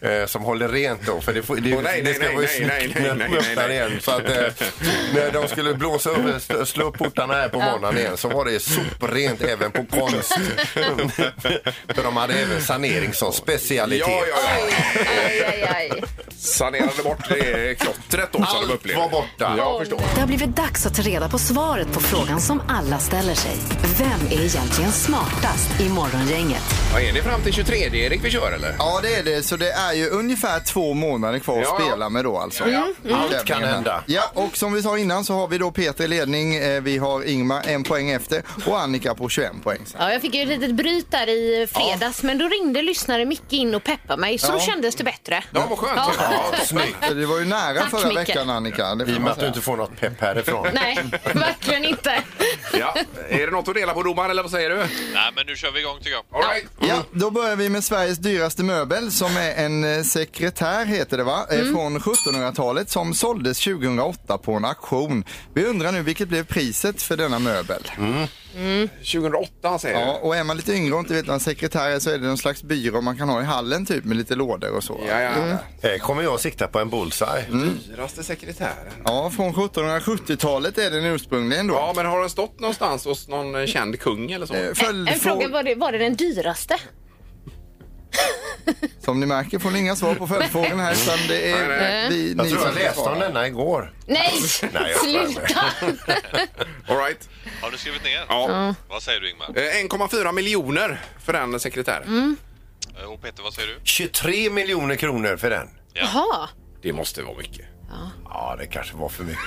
[SPEAKER 4] eh, som håller rent då. För det, får, det,
[SPEAKER 2] Mm. Åh, nej,
[SPEAKER 4] det
[SPEAKER 2] nej,
[SPEAKER 4] ska
[SPEAKER 2] nej,
[SPEAKER 4] vara ju
[SPEAKER 2] nej,
[SPEAKER 4] snyggt
[SPEAKER 2] nej,
[SPEAKER 4] när
[SPEAKER 2] nej,
[SPEAKER 4] de
[SPEAKER 2] nej,
[SPEAKER 4] öppnar
[SPEAKER 2] nej.
[SPEAKER 4] igen. Så att, eh, när de skulle blåsa upp, eh, st- slå upp portarna här på morgonen igen så var det soprent även på konst.
[SPEAKER 2] [laughs]
[SPEAKER 4] För de hade även sanering som specialitet.
[SPEAKER 2] Ja, ja, ja.
[SPEAKER 3] Aj, aj, aj.
[SPEAKER 2] Sanerade bort det klottret då som de
[SPEAKER 4] Allt
[SPEAKER 2] upplevde.
[SPEAKER 4] var borta.
[SPEAKER 2] Jag förstår.
[SPEAKER 1] Det har blivit dags att ta reda på svaret på frågan som alla ställer sig. Vem är egentligen smartast i Morgongänget?
[SPEAKER 2] Ja, är det fram till 23 Erik vi kör eller?
[SPEAKER 5] Ja, det är det. Så det är ju ungefär två månader kvar att
[SPEAKER 2] Ja, ja.
[SPEAKER 5] spela med då alltså.
[SPEAKER 4] Allt kan hända.
[SPEAKER 5] Ja, och som vi sa innan så har vi då Peter i ledning, eh, vi har Ingmar en poäng efter och Annika på 21 poäng.
[SPEAKER 3] Ja, jag fick ju ett litet bryt där i fredags, men då ringde lyssnare Micke in och peppade mig, så då
[SPEAKER 5] Ja.
[SPEAKER 3] kändes det bättre.
[SPEAKER 2] Ja, vad skönt. Ja.
[SPEAKER 4] Snyggt.
[SPEAKER 5] Så Det var ju nära
[SPEAKER 3] Tack,
[SPEAKER 5] förra
[SPEAKER 3] Micke.
[SPEAKER 5] veckan Annika. Det får
[SPEAKER 4] I och med
[SPEAKER 5] man
[SPEAKER 4] att du
[SPEAKER 5] säga.
[SPEAKER 4] inte får något pepp härifrån.
[SPEAKER 3] Nej, verkligen inte.
[SPEAKER 2] Ja. Är det något att dela på domaren eller vad säger du?
[SPEAKER 9] Nej, men nu kör vi igång tycker jag.
[SPEAKER 2] All right.
[SPEAKER 5] Ja, då börjar vi med Sveriges dyraste möbel som är en eh, sekretär heter det va? Eh, Från 1700-talet som såldes 2008 på en auktion. Vi undrar nu vilket blev priset för denna möbel?
[SPEAKER 2] 2008 säger
[SPEAKER 5] Ja,
[SPEAKER 2] du.
[SPEAKER 5] och är man lite yngre och inte vet vad en sekretär är så är det någon slags byrå man kan ha i hallen typ med lite lådor och så.
[SPEAKER 2] Ja, ja.
[SPEAKER 4] Eh, Kommer jag att sikta på en bullseye?
[SPEAKER 2] Dyraste sekretären.
[SPEAKER 5] Ja, från 1770-talet är den ursprungligen då.
[SPEAKER 2] Ja, men har den stått någonstans hos någon eh, känd kung eller så?
[SPEAKER 5] Eh,
[SPEAKER 3] En fråga,
[SPEAKER 5] Följdfråga.
[SPEAKER 3] var det, var det den dyraste?
[SPEAKER 5] Som ni märker får ni inga svar på följdfrågan här utan det är
[SPEAKER 2] Nej, nej.
[SPEAKER 5] vi,
[SPEAKER 4] Jag
[SPEAKER 5] ni
[SPEAKER 4] tror
[SPEAKER 5] som
[SPEAKER 4] jag läste om denna igår.
[SPEAKER 3] Nej,
[SPEAKER 4] Nej, jag skojar.
[SPEAKER 3] sluta!
[SPEAKER 2] All right.
[SPEAKER 9] Har du skrivit ner?
[SPEAKER 2] Ja.
[SPEAKER 9] Vad säger du Ingmar?
[SPEAKER 2] Eh, 1,4 miljoner för den sekretären.
[SPEAKER 4] Mm.
[SPEAKER 9] Eh, Och Peter, vad säger du?
[SPEAKER 4] 23 miljoner kronor för den.
[SPEAKER 3] Jaha.
[SPEAKER 2] Det måste vara mycket.
[SPEAKER 4] Ja, det kanske var för mycket.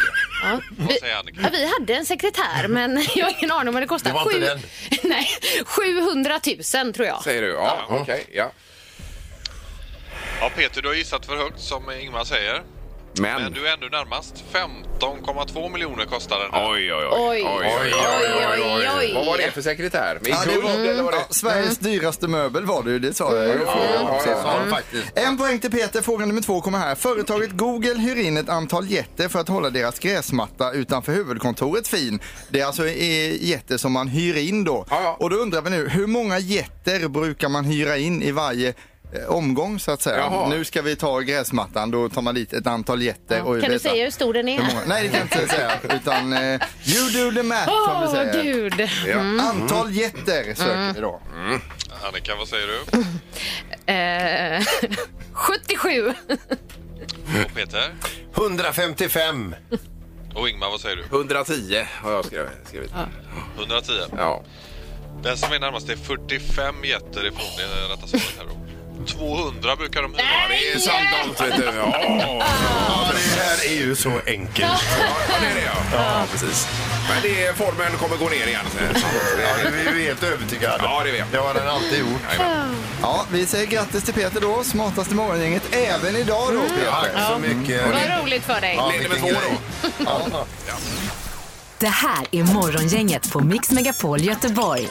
[SPEAKER 3] Ja. Vi,
[SPEAKER 9] säger Annika?
[SPEAKER 3] ja, vi hade en sekretär, men [laughs] jag har ingen aning om vad det kostar.
[SPEAKER 4] Det var inte
[SPEAKER 3] [laughs] nej, 700 000 tror jag.
[SPEAKER 2] Säger du? Ja, okej. Ja.
[SPEAKER 9] Ja, Peter, du har gissat för högt som Ingmar säger.
[SPEAKER 2] Men...
[SPEAKER 9] Men du är ändå närmast. 15,2 miljoner kostar den. här.
[SPEAKER 2] Oj, oj, oj.
[SPEAKER 3] Oj. Oj, oj, oj.
[SPEAKER 2] Vad var det för sekretär? Med
[SPEAKER 5] Ja, det
[SPEAKER 2] guld
[SPEAKER 5] var,
[SPEAKER 2] eller vad
[SPEAKER 5] Mm. ja,
[SPEAKER 2] det? Mm.
[SPEAKER 5] Sveriges dyraste möbel var det ju, det sa jag ju.
[SPEAKER 2] Ja,
[SPEAKER 4] Det sa han faktiskt.
[SPEAKER 5] En poäng till Peter, fråga nummer två kommer här. Företaget Google hyr in ett antal getter för att hålla deras gräsmatta utanför huvudkontoret fin. Det är alltså eh, getter som man hyr in då.
[SPEAKER 2] Ja, ja.
[SPEAKER 5] Och då undrar vi nu, hur många getter brukar man hyra in i varje eh, omgång så att säga?
[SPEAKER 2] Jaha.
[SPEAKER 5] Nu ska vi ta gräsmattan, då tar man dit ett antal getter. och
[SPEAKER 3] Kan du
[SPEAKER 5] vet
[SPEAKER 3] säga
[SPEAKER 5] att-
[SPEAKER 3] hur stor den är?
[SPEAKER 5] hur många? Nej, det kan jag inte säga. Utan eh, you do the math, som
[SPEAKER 3] Åh,
[SPEAKER 5] vi säger.
[SPEAKER 3] gud!
[SPEAKER 2] Ja.
[SPEAKER 5] Antal getter söker vi då.
[SPEAKER 9] Annika, vad säger du?
[SPEAKER 3] Eh, 77.
[SPEAKER 9] Och Peter?
[SPEAKER 4] 155.
[SPEAKER 9] Och Ingmar, vad säger du?
[SPEAKER 2] 110 har jag skrivit. skrivit.
[SPEAKER 9] 110.
[SPEAKER 2] Ja.
[SPEAKER 9] Den som är närmast är 45 getter ifrån det rätta svaret här då. 200 brukar de hyra.
[SPEAKER 2] Det är sant vet du. Ja,
[SPEAKER 4] Ja, det här är ju så enkelt.
[SPEAKER 2] ja, det är det ja. ja precis. Men det är, formen kommer gå ner igen.
[SPEAKER 4] Ja, det är vi helt övertygade.
[SPEAKER 2] Ja, det vet jag.
[SPEAKER 4] Det har den alltid gjort.
[SPEAKER 5] Ja, vi säger grattis till Peter då, smartaste morgongänget även idag då Peter.
[SPEAKER 4] Tack så mycket.
[SPEAKER 3] Vad roligt för dig.
[SPEAKER 4] Ja,
[SPEAKER 2] Leder med
[SPEAKER 4] vilken
[SPEAKER 2] två
[SPEAKER 4] grej.
[SPEAKER 1] Det här är Morgongänget på Mix Megapol Göteborg.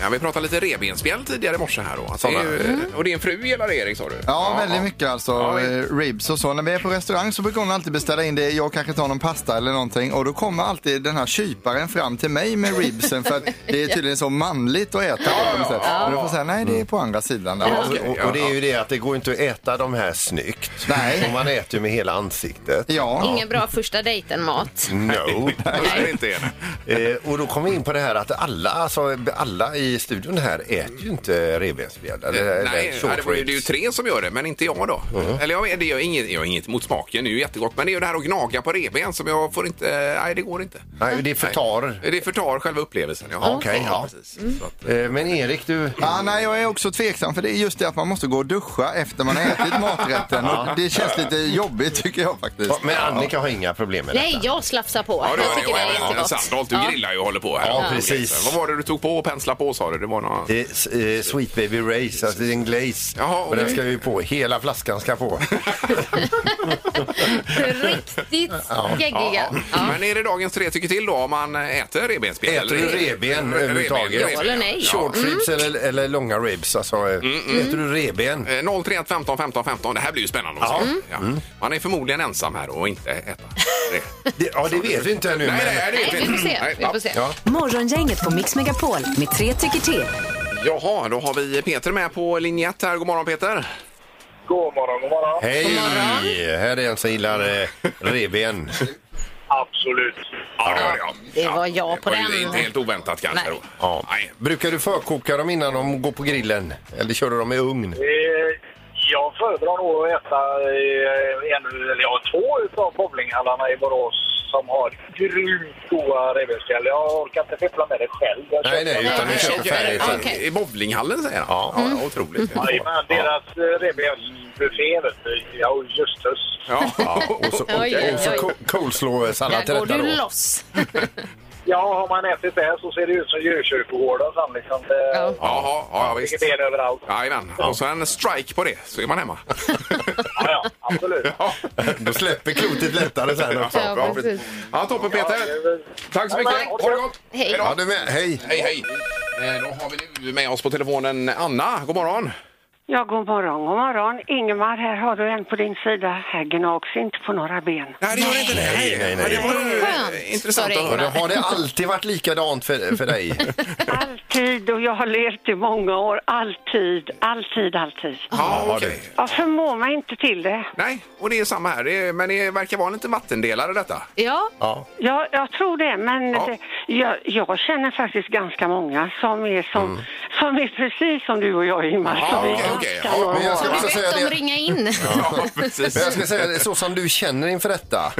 [SPEAKER 2] Ja, vi pratade lite revbensspjäll tidigare i morse här. Då. Alltså, det är ju, Och din fru gillar det, Erik, sa du?
[SPEAKER 5] Ja, väldigt mycket alltså.
[SPEAKER 2] Ja,
[SPEAKER 5] eh, ribs och så. När vi är på restaurang så brukar hon alltid beställa in det. Jag kanske tar någon pasta eller någonting. Och då kommer alltid den här kyparen fram till mig med ribsen. För att det är tydligen så manligt att äta. Ja, på något sätt. Men då får jag säga, nej det är på andra sidan. Där.
[SPEAKER 4] Ja, och, och det är ju det att det går inte att äta de här snyggt.
[SPEAKER 5] Nej.
[SPEAKER 4] Och man äter ju med hela ansiktet.
[SPEAKER 3] Ingen bra första dejten-mat.
[SPEAKER 4] No.
[SPEAKER 2] Nej. inte är
[SPEAKER 4] eh, och då kom vi in på det här att alla, alltså, alla i studion här äter ju inte revbensspjäll. Eller,
[SPEAKER 2] Eh, Nej,
[SPEAKER 4] eller
[SPEAKER 2] ja, det, var ju- det är
[SPEAKER 4] short
[SPEAKER 2] ju
[SPEAKER 4] ribs.
[SPEAKER 2] tre som gör det, men inte jag då. Eller jag, det gör inget, jag har inget mot smaken, det är ju jättegott. Men det är ju det här att gnaga på revben som jag får inte... eh, Nej, det går inte.
[SPEAKER 4] Nej, det förtar.
[SPEAKER 2] Nej. Det förtar själva upplevelsen. Ja.
[SPEAKER 4] Okej, ja.
[SPEAKER 2] precis.
[SPEAKER 3] Mm.
[SPEAKER 2] Så att,
[SPEAKER 4] Eh, Men Erik, du...
[SPEAKER 5] Ja, nej, jag är också tveksam för det är just det att man måste gå och duscha efter man har ätit maträtten. Och det känns lite jobbigt tycker jag faktiskt.
[SPEAKER 4] Ja, Men Annika har inga problem med detta.
[SPEAKER 3] Nej, jag slafsar på.
[SPEAKER 2] Ja, det
[SPEAKER 3] jag
[SPEAKER 2] gör
[SPEAKER 3] tycker det är
[SPEAKER 2] det. Och även
[SPEAKER 3] jättegott.
[SPEAKER 2] Sandholt, du grillar ju och håller på här.
[SPEAKER 4] Ja, precis.
[SPEAKER 2] Vad var det du tog på och pensla på sa du? Det var någon...
[SPEAKER 4] Eh, s- eh, Sweet Baby Race, alltså det är en glaze.
[SPEAKER 2] Jaha,
[SPEAKER 4] och den
[SPEAKER 2] okej.
[SPEAKER 4] ska ju på, hela flaskan ska på.
[SPEAKER 3] Riktigt geggiga. Ja.
[SPEAKER 2] Men är det dagens tre tycker till då om man äter revbensspjäll?
[SPEAKER 4] Äter du revben
[SPEAKER 2] Re-
[SPEAKER 4] överhuvudtaget?
[SPEAKER 2] revben,
[SPEAKER 3] Ja eller nej?
[SPEAKER 2] ja.
[SPEAKER 4] Short ribs eller, eller långa ribs, alltså eh,
[SPEAKER 2] Mm,
[SPEAKER 4] äter du revben?
[SPEAKER 2] Eh, 031 15 15 15. Det här blir ju spännande. också.
[SPEAKER 3] Mm.
[SPEAKER 2] Ja.
[SPEAKER 4] Mm.
[SPEAKER 2] Man är förmodligen ensam här och inte
[SPEAKER 3] [laughs]
[SPEAKER 2] äta. Det.
[SPEAKER 4] Det, ja, det vet vi inte ännu.
[SPEAKER 2] Nej,
[SPEAKER 4] men-
[SPEAKER 2] nej, det
[SPEAKER 3] Nej,
[SPEAKER 2] vet
[SPEAKER 3] vi får se. Vi
[SPEAKER 2] ja.
[SPEAKER 3] får se.
[SPEAKER 4] Ja.
[SPEAKER 1] Morgongänget på Mix Megapol med tre tycker till.
[SPEAKER 2] Jaha, då har vi Peter med på linje 1 här. God morgon Peter!
[SPEAKER 6] God morgon, god morgon.
[SPEAKER 4] Hej! Här är en som gillar eh, revben.
[SPEAKER 6] Absolut.
[SPEAKER 2] Ja, det var jag.
[SPEAKER 3] Det var jag på
[SPEAKER 2] var ju
[SPEAKER 3] den.
[SPEAKER 2] Inte helt oväntat kanske.
[SPEAKER 3] Nej.
[SPEAKER 2] Då.
[SPEAKER 4] Ja.
[SPEAKER 2] Nej.
[SPEAKER 4] Brukar du förkoka dem innan de går på grillen? Eller kör du dem i ugn?
[SPEAKER 6] Eh, Jag föredrar nog att äta eh, en, eller jag har två utav bowlinghallarna i Borås som har grymt goda revbensspjäll. Jag orkar inte fippla med det själv. Jag
[SPEAKER 4] Nej,
[SPEAKER 6] köper-
[SPEAKER 4] nej, utan du
[SPEAKER 3] Nej,
[SPEAKER 4] köper
[SPEAKER 3] okej.
[SPEAKER 4] färdigt.
[SPEAKER 3] Ja,
[SPEAKER 4] sen.
[SPEAKER 3] okej.
[SPEAKER 2] I bowlinghallen säger han? Ja, ja otroligt.
[SPEAKER 6] Jajamän, deras eh, revbensbuffé, vet du. Ja, jösses.
[SPEAKER 2] Ja.
[SPEAKER 4] Och så,
[SPEAKER 3] [laughs] Oj, oj,
[SPEAKER 4] och, och så
[SPEAKER 3] oj.
[SPEAKER 4] co- coleslaw-sallad till
[SPEAKER 3] Där går
[SPEAKER 4] detta
[SPEAKER 3] du
[SPEAKER 4] då.
[SPEAKER 3] loss.
[SPEAKER 6] Ja, har man ätit det så ser det ut som djurkyrkogården sen liksom. Det,
[SPEAKER 3] Ja.
[SPEAKER 2] Jaha, ja, visst.
[SPEAKER 6] Vilket är det överallt.
[SPEAKER 2] Jajamän, och så en strike på det så är man hemma.
[SPEAKER 6] Ja, ja, absolut.
[SPEAKER 2] Ja,
[SPEAKER 4] Då släpper klotet lättare sen också.
[SPEAKER 3] Ja,
[SPEAKER 2] bra.
[SPEAKER 3] precis.
[SPEAKER 2] Ja, toppen Peter!
[SPEAKER 6] Ja, det är väl-
[SPEAKER 2] Tack så mycket!
[SPEAKER 6] Ja, men-
[SPEAKER 2] Ha det gott!
[SPEAKER 3] Hej.
[SPEAKER 2] då.
[SPEAKER 4] Ja, du med. Hej!
[SPEAKER 2] Hej, hej! Eh, Då har vi nu med oss på telefonen Anna. God morgon!
[SPEAKER 8] Ja, god morgon, god morgon. Ingemar, här har du en på din sida. Här gnags inte på några ben.
[SPEAKER 2] Nej, det gör inte det.
[SPEAKER 4] Nej, nej, nej.
[SPEAKER 2] Ja, Det var ju
[SPEAKER 3] Skönt,
[SPEAKER 2] intressant
[SPEAKER 3] sa
[SPEAKER 2] att
[SPEAKER 4] Och då
[SPEAKER 2] höra.
[SPEAKER 4] har det alltid varit likadant för, för dig?
[SPEAKER 8] Alltid, och jag har levt i många år. Alltid, alltid, alltid.
[SPEAKER 2] Ja, okej.
[SPEAKER 8] Jag förmår mig inte till det.
[SPEAKER 2] Nej, och det är samma här. Det är, men det verkar vara en liten vattendelare detta.
[SPEAKER 3] [laughs] Ja,
[SPEAKER 4] Ja.
[SPEAKER 8] Ja, jag tror det, men
[SPEAKER 2] Ja.
[SPEAKER 8] det, jag, jag känner faktiskt ganska många som är, som, som är precis som du och jag, Ingemar.
[SPEAKER 2] Mm. Ja,
[SPEAKER 8] som är
[SPEAKER 2] okej, okej.
[SPEAKER 8] ganska
[SPEAKER 2] Ja, men
[SPEAKER 4] Men jag ska
[SPEAKER 8] normala.
[SPEAKER 4] också
[SPEAKER 3] du
[SPEAKER 4] säga
[SPEAKER 3] vet de
[SPEAKER 4] det.
[SPEAKER 3] ringa in.
[SPEAKER 2] Ja, precis.
[SPEAKER 4] Men jag ska säga det, så som du känner inför detta.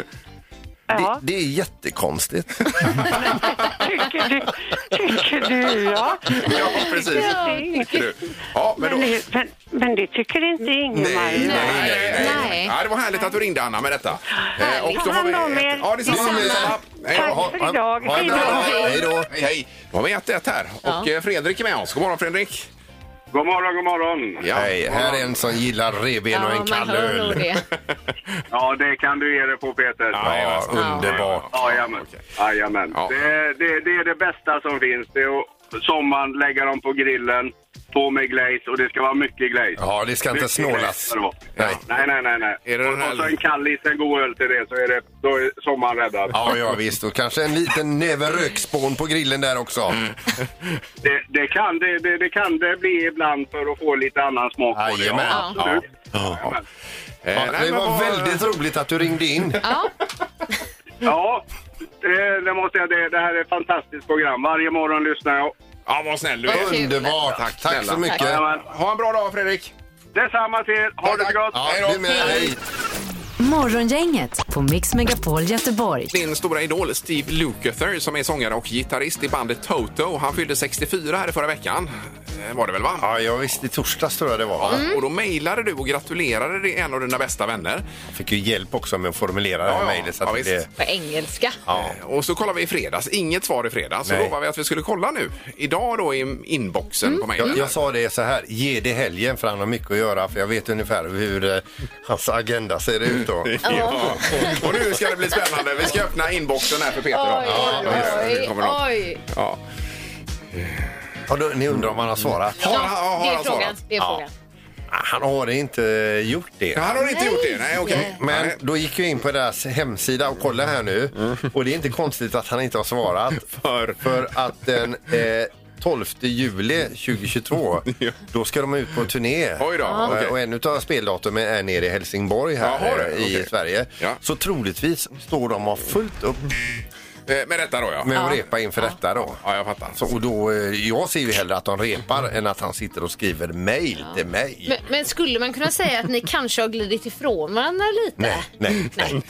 [SPEAKER 4] Det,
[SPEAKER 8] Ja.
[SPEAKER 4] det är jättekonstigt.
[SPEAKER 8] Tycker du? Tycker du, ja.
[SPEAKER 2] Ja, precis.
[SPEAKER 8] Det är inget-
[SPEAKER 2] Tycker du? Ja, men då...
[SPEAKER 8] Men,
[SPEAKER 2] Nej,
[SPEAKER 8] det- men, men det tycker inte Ingemar.
[SPEAKER 4] Nej, nej.
[SPEAKER 3] Nej.
[SPEAKER 2] Ja, det var härligt att du ringde, Anna, med detta. Eh, Och då har vi...
[SPEAKER 8] Ta hand om er.
[SPEAKER 2] Ja, detsamma.
[SPEAKER 3] Detsamma.
[SPEAKER 2] detsamma. Hej
[SPEAKER 8] Tack
[SPEAKER 2] då.
[SPEAKER 4] Ha-
[SPEAKER 8] för
[SPEAKER 4] ha-
[SPEAKER 8] idag.
[SPEAKER 4] ha en bra
[SPEAKER 8] Hej då.
[SPEAKER 4] dag. Hej då!
[SPEAKER 2] Hej, hej. Då har vi 1-1 här. Och eh, Fredrik är med oss. God morgon, Fredrik.
[SPEAKER 6] God morgon, god morgon.
[SPEAKER 2] Ja,
[SPEAKER 4] Hej, här är en som gillar revben och
[SPEAKER 3] Ja,
[SPEAKER 4] en
[SPEAKER 3] man
[SPEAKER 4] kall
[SPEAKER 3] hör nog
[SPEAKER 4] öl.
[SPEAKER 3] det.
[SPEAKER 6] Ja, det kan du ge dig på, Peter.
[SPEAKER 4] Ja, underbart.
[SPEAKER 6] Jajamän.
[SPEAKER 2] okej.
[SPEAKER 6] Jajamän.
[SPEAKER 2] Ja.
[SPEAKER 6] Det, det, det är det bästa som finns. Det är att sommaren lägga dem på grillen, på med glaze och det ska vara mycket glaze.
[SPEAKER 4] Ja, det ska inte
[SPEAKER 6] Mycket glaze
[SPEAKER 4] snålas.
[SPEAKER 6] ska det vara.
[SPEAKER 4] Nej.
[SPEAKER 6] Nej, nej, nej. nej.
[SPEAKER 2] Är det den här-
[SPEAKER 6] Och så en kallis, en god öl till det så är, det, då är sommaren räddad.
[SPEAKER 4] Ja, ja visst. Och kanske en liten näve rökspån på grillen där också.
[SPEAKER 6] Det, det, kan, det, det, det kan det bli ibland för att få lite annan smak på det.
[SPEAKER 4] Jajamän.
[SPEAKER 6] absolut.
[SPEAKER 2] Ja.
[SPEAKER 6] Jajamän.
[SPEAKER 2] Eh,
[SPEAKER 4] Ja,
[SPEAKER 2] nej,
[SPEAKER 4] det
[SPEAKER 2] men
[SPEAKER 4] var
[SPEAKER 2] vad-
[SPEAKER 4] väldigt roligt att du ringde in.
[SPEAKER 3] Ja,
[SPEAKER 6] Ja, det, det måste jag det, det här är ett fantastiskt program. Varje morgon lyssnar jag.
[SPEAKER 2] Ja, vad snäll du är.
[SPEAKER 3] Kul.
[SPEAKER 4] Underbart.
[SPEAKER 2] Tack,
[SPEAKER 4] Tack,
[SPEAKER 2] snälla.
[SPEAKER 4] så mycket.
[SPEAKER 6] Jajamän.
[SPEAKER 2] Ha en bra dag, Fredrik.
[SPEAKER 6] Detsamma till er. Ha det så gott.
[SPEAKER 4] Ja, du med. Hej.
[SPEAKER 1] Morgongänget på Mix Megapol Göteborg.
[SPEAKER 2] Din stora idol Steve Lukather som är sångare och gitarrist i bandet Toto. Han fyllde 64 här i förra veckan. Eh, Var det väl va?
[SPEAKER 4] Ja, jag visste i torsdags tror jag det var.
[SPEAKER 3] Mm.
[SPEAKER 2] Och då mejlade du och gratulerade dig en av dina bästa vänner.
[SPEAKER 4] Jag fick ju hjälp också med att formulera det här
[SPEAKER 2] Ja, ja.
[SPEAKER 4] mejlet. så att
[SPEAKER 2] Ja, visst.
[SPEAKER 4] det-
[SPEAKER 3] på engelska.
[SPEAKER 4] Ja.
[SPEAKER 2] Eh, Och så kollar vi i fredags. Inget svar i fredags. Så
[SPEAKER 4] Nej.
[SPEAKER 2] lovade vi att vi skulle kolla nu. Idag då i inboxen
[SPEAKER 3] Mm.
[SPEAKER 2] på mejlen.
[SPEAKER 4] Jag, jag sa det så här, ge det helgen för han har mycket att göra för jag vet ungefär hur eh, hans agenda ser ut då.
[SPEAKER 2] [laughs] Ja. Och nu ska det bli spännande. Vi ska öppna inboxen här för Peter. då.
[SPEAKER 3] Oj,
[SPEAKER 2] Ja,
[SPEAKER 3] oj,
[SPEAKER 2] det kommer
[SPEAKER 3] oj,
[SPEAKER 2] något.
[SPEAKER 3] oj.
[SPEAKER 2] Ja.
[SPEAKER 4] Ja, då, ni undrar om han har svarat?
[SPEAKER 3] Ja, det är frågan. Det är
[SPEAKER 4] Ja.
[SPEAKER 3] frågan.
[SPEAKER 4] Han har inte eh, gjort det.
[SPEAKER 2] Han har inte gjort det. Nej, Mm. okej.
[SPEAKER 4] Men då gick jag in på deras hemsida och kollade här nu. Och det är inte konstigt att han inte har
[SPEAKER 2] [laughs]
[SPEAKER 4] svarat. För, för att den eh, 12 juli 2022, då ska de ut på turné.
[SPEAKER 2] Oj då,
[SPEAKER 4] Och-
[SPEAKER 2] okej.
[SPEAKER 4] Och en av speldatumen är nere i Helsingborg här
[SPEAKER 2] Jaha, det,
[SPEAKER 4] eh, i
[SPEAKER 2] okej.
[SPEAKER 4] Sverige.
[SPEAKER 2] Ja.
[SPEAKER 4] Så troligtvis står de och har fullt upp
[SPEAKER 2] Eh, Med detta då, ja.
[SPEAKER 4] med att repa inför detta då.
[SPEAKER 2] Ja, jag fattar.
[SPEAKER 4] Så, och då, eh, jag ser ju hellre att de repar än att han sitter och skriver mejl till mig.
[SPEAKER 3] Men, men skulle man kunna säga att ni kanske har glidit ifrån varandra lite?
[SPEAKER 4] Nej, nej, nej.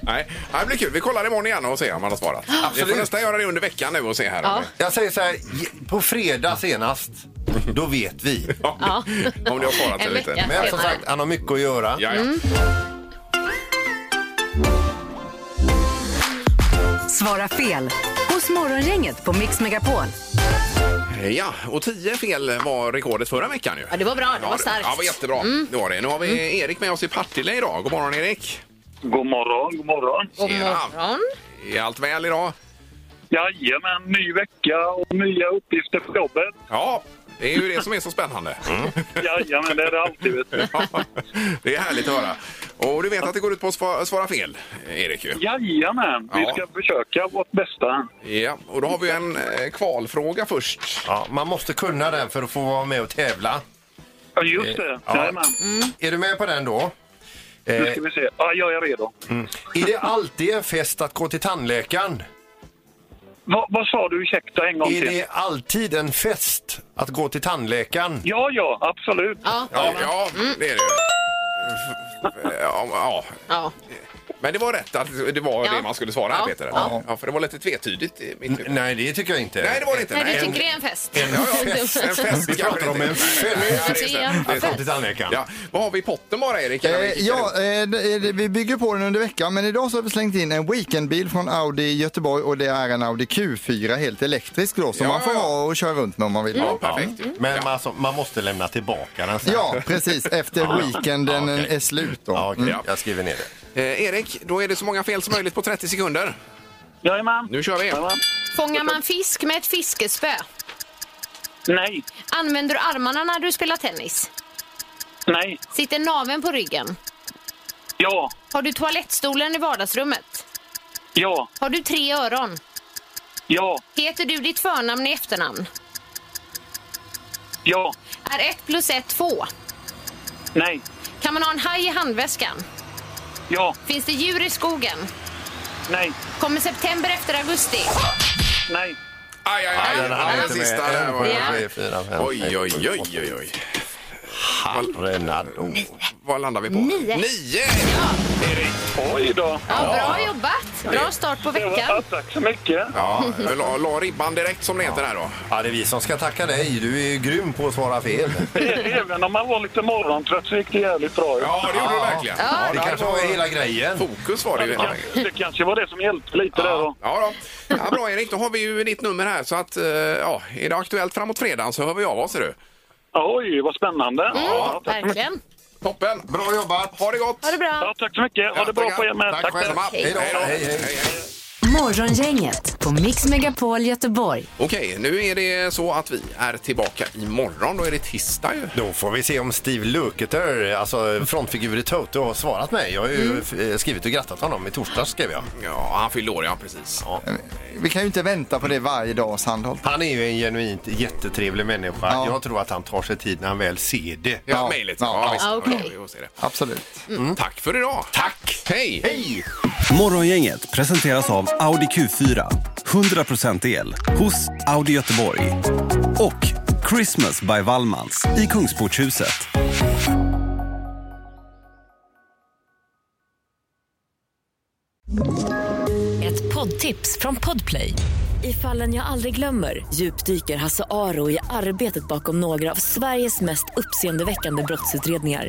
[SPEAKER 2] Nej, Ja, det blir kul. Vi kollar imorgon igen och ser om han har svarat. Vi får nästan göra det under veckan nu och se här.
[SPEAKER 3] Ja.
[SPEAKER 4] Jag säger så här, ge- på fredag senast, då vet vi.
[SPEAKER 2] Om det- om det har svarat
[SPEAKER 3] En
[SPEAKER 2] eller inte.
[SPEAKER 3] vecka. Mm.
[SPEAKER 4] Men som sagt, han har mycket att göra.
[SPEAKER 2] Ja, ja.
[SPEAKER 1] Svara fel hos Morgongänget på Mix Megapol.
[SPEAKER 2] ja, och 10 fel var rekordet förra veckan. Ju.
[SPEAKER 3] Ja, det var bra. Det var starkt. Mm.
[SPEAKER 2] Ja, det var jättebra. Det var det. Nu har vi Erik med oss i Partille idag. God morgon Erik!
[SPEAKER 6] God morgon, god morgon.
[SPEAKER 3] God
[SPEAKER 2] Tjena.
[SPEAKER 3] morgon.
[SPEAKER 2] Är allt väl idag?
[SPEAKER 6] Jajamän, ny vecka och nya uppgifter på jobbet.
[SPEAKER 2] Ja, det är ju det som är så spännande.
[SPEAKER 4] Mm.
[SPEAKER 6] Jajamän, det är det alltid. Vet du.
[SPEAKER 2] [laughs] Ja, det är härligt att höra. Och du vet att det går ut på att sva- svara fel, Erik. Ju.
[SPEAKER 6] Jajamän, vi
[SPEAKER 2] Ja.
[SPEAKER 6] ska försöka vårt bästa.
[SPEAKER 2] Ja, och då har vi en eh, kvalfråga först.
[SPEAKER 4] Ja, man måste kunna den för att få vara med och tävla.
[SPEAKER 6] Ja, just det.
[SPEAKER 4] Eh, Ja.
[SPEAKER 6] Jajamän.
[SPEAKER 4] Är du med på den då? Eh,
[SPEAKER 6] Nu ska vi se. Ja, jag är redo.
[SPEAKER 4] är det alltid en fest att gå till tandläkaren?
[SPEAKER 6] Va, vad sa du? Ursäkta en gång
[SPEAKER 4] Är
[SPEAKER 6] till.
[SPEAKER 4] det alltid en fest att gå till tandläkaren?
[SPEAKER 6] Ja, ja, absolut.
[SPEAKER 3] Ja.
[SPEAKER 2] Ja, ja det är det ju. Ja, ja.
[SPEAKER 3] Ja.
[SPEAKER 2] Men det var rätt att det var
[SPEAKER 3] Ja.
[SPEAKER 2] det man skulle svara här,
[SPEAKER 3] Ja.
[SPEAKER 2] Peter. Ja.
[SPEAKER 5] Ja.
[SPEAKER 2] för det var lite tvetydigt i mitt huvud.
[SPEAKER 4] Nej, det tycker jag inte.
[SPEAKER 2] Nej, det var det inte.
[SPEAKER 3] Nej, du
[SPEAKER 2] en,
[SPEAKER 3] tycker det är en fest?
[SPEAKER 2] ja, ja, fest, en
[SPEAKER 3] [laughs]
[SPEAKER 2] fest
[SPEAKER 4] Vi
[SPEAKER 2] kanske
[SPEAKER 4] pratar om
[SPEAKER 2] det inte.
[SPEAKER 4] en fest.
[SPEAKER 2] Nej, nej, nej, det är sant. Det
[SPEAKER 4] Att gå
[SPEAKER 2] är
[SPEAKER 4] till
[SPEAKER 2] sant.
[SPEAKER 4] tandläkaren.
[SPEAKER 2] Ja. Vad har vi i potten bara, Erik? Eller
[SPEAKER 5] Eh,
[SPEAKER 2] vi kickar
[SPEAKER 5] ja,
[SPEAKER 2] ut?
[SPEAKER 5] eh, det- det- vi bygger på den under veckan, men idag så har vi slängt in en weekendbil från Audi Göteborg och det är en Audi Q4 helt elektrisk då som
[SPEAKER 2] Ja,
[SPEAKER 5] man får
[SPEAKER 2] ja.
[SPEAKER 5] ha och köra runt med om man vill.
[SPEAKER 2] Ja, perfekt.
[SPEAKER 3] Mm.
[SPEAKER 2] ju.
[SPEAKER 4] Men man, alltså, man måste lämna tillbaka den sen.
[SPEAKER 5] Ja, precis. Efter weekenden
[SPEAKER 4] Ja, okej.
[SPEAKER 5] är slut då.
[SPEAKER 4] Ja, okej.
[SPEAKER 5] Mm.
[SPEAKER 4] Jag skriver ner det.
[SPEAKER 2] Eh, Erik, då är det så många fel som möjligt på 30 sekunder.
[SPEAKER 6] Jajamän.
[SPEAKER 2] Nu kör vi.
[SPEAKER 6] Jajamän.
[SPEAKER 3] Fångar man fisk med ett fiskespö?
[SPEAKER 6] Nej,
[SPEAKER 3] Använder du armarna när du spelar tennis?
[SPEAKER 6] nej,
[SPEAKER 3] Sitter naveln på ryggen?
[SPEAKER 6] ja,
[SPEAKER 3] Har du toalettstolen i vardagsrummet?
[SPEAKER 6] ja,
[SPEAKER 3] Har du tre öron?
[SPEAKER 6] ja,
[SPEAKER 3] Heter du ditt förnamn i efternamn?
[SPEAKER 6] ja,
[SPEAKER 3] Är ett plus ett två?
[SPEAKER 6] nej,
[SPEAKER 3] Kan man ha en haj i handväskan?
[SPEAKER 6] ja,
[SPEAKER 3] Finns det djur i skogen?
[SPEAKER 6] nej,
[SPEAKER 3] Kommer september efter augusti?
[SPEAKER 6] nej.
[SPEAKER 2] Aj, aj, aj.
[SPEAKER 4] Nej, den hann jag
[SPEAKER 2] den
[SPEAKER 4] inte med.
[SPEAKER 2] sista
[SPEAKER 4] En,
[SPEAKER 2] där
[SPEAKER 4] två,
[SPEAKER 2] var
[SPEAKER 3] Ja.
[SPEAKER 4] tre, fyra, fem, sex,
[SPEAKER 2] Oj, oj,
[SPEAKER 4] sju,
[SPEAKER 2] oj,
[SPEAKER 4] åtta.
[SPEAKER 2] oj, oj.
[SPEAKER 4] Renado.
[SPEAKER 2] Vad landar vi på?
[SPEAKER 3] Nio.
[SPEAKER 2] Nio!
[SPEAKER 6] Oj då.
[SPEAKER 3] Ja, bra jobbat! Bra start på
[SPEAKER 6] Ja,
[SPEAKER 3] veckan.
[SPEAKER 6] tack så mycket.
[SPEAKER 2] Ja, jag la, la ribban direkt som det heter här då.
[SPEAKER 4] Ja, det är vi som ska tacka dig. Du är ju grym på att svara fel.
[SPEAKER 6] E-, Även om man var lite morgontrött så gick det jävligt bra. ju.
[SPEAKER 2] Ja, det gjorde du verkligen. Ja,
[SPEAKER 4] Det
[SPEAKER 2] där
[SPEAKER 4] kanske
[SPEAKER 2] var-
[SPEAKER 4] var hela grejen.
[SPEAKER 2] Fokus var det ju.
[SPEAKER 6] Ja, Det kanske var det som hjälpte lite där då.
[SPEAKER 2] Ja, då. ja, bra Erik, då har vi ju ditt nummer här så att eh, ja, är det aktuellt framåt fredagen så hör vi av oss ser du.
[SPEAKER 6] Oj, vad spännande. Ja, tack.
[SPEAKER 3] Verkligen.
[SPEAKER 2] Toppen!
[SPEAKER 4] Bra jobbat!
[SPEAKER 2] Ha det gott!
[SPEAKER 3] Ha det bra.
[SPEAKER 6] Ja, tack så mycket.
[SPEAKER 2] Ja,
[SPEAKER 6] Ha det bra
[SPEAKER 2] tackar.
[SPEAKER 6] på er med.
[SPEAKER 4] Tack själv. Hej då. Hej, hej.
[SPEAKER 1] Morgongänget på Mix Megapol Göteborg.
[SPEAKER 2] Okej, nu är det så att vi är tillbaka imorgon. Då är det tisdag ju.
[SPEAKER 4] Då får vi se om Steve Lukather, alltså frontfigur i Toto, har svarat mig. Jag har ju eh, skrivit och grattat honom i torsdags skrev jag.
[SPEAKER 2] Ja, han fyllde år ja, precis. Ja,
[SPEAKER 5] Vi kan ju inte vänta på det varje dag, Sandholt.
[SPEAKER 4] Han är ju en genuint jättetrevlig människa.
[SPEAKER 5] Ja.
[SPEAKER 4] Jag tror att han tar sig tid när han väl ser det.
[SPEAKER 2] ja mejlet. Ja,
[SPEAKER 5] Ja.
[SPEAKER 2] visst.
[SPEAKER 3] Ja, okej.
[SPEAKER 2] vi får se det.
[SPEAKER 5] Absolut.
[SPEAKER 2] Tack för idag! Tack! Hej!
[SPEAKER 4] Hej!
[SPEAKER 10] Morgongänget presenteras av Audi Q4. 100% el hos Audi Göteborg. Och Christmas by Wallmans i Kungsportshuset.
[SPEAKER 11] Ett poddtips från Podplay. I fallen jag aldrig glömmer djupdyker Hasse Aro i arbetet bakom några av Sveriges mest uppseendeväckande brottsutredningar.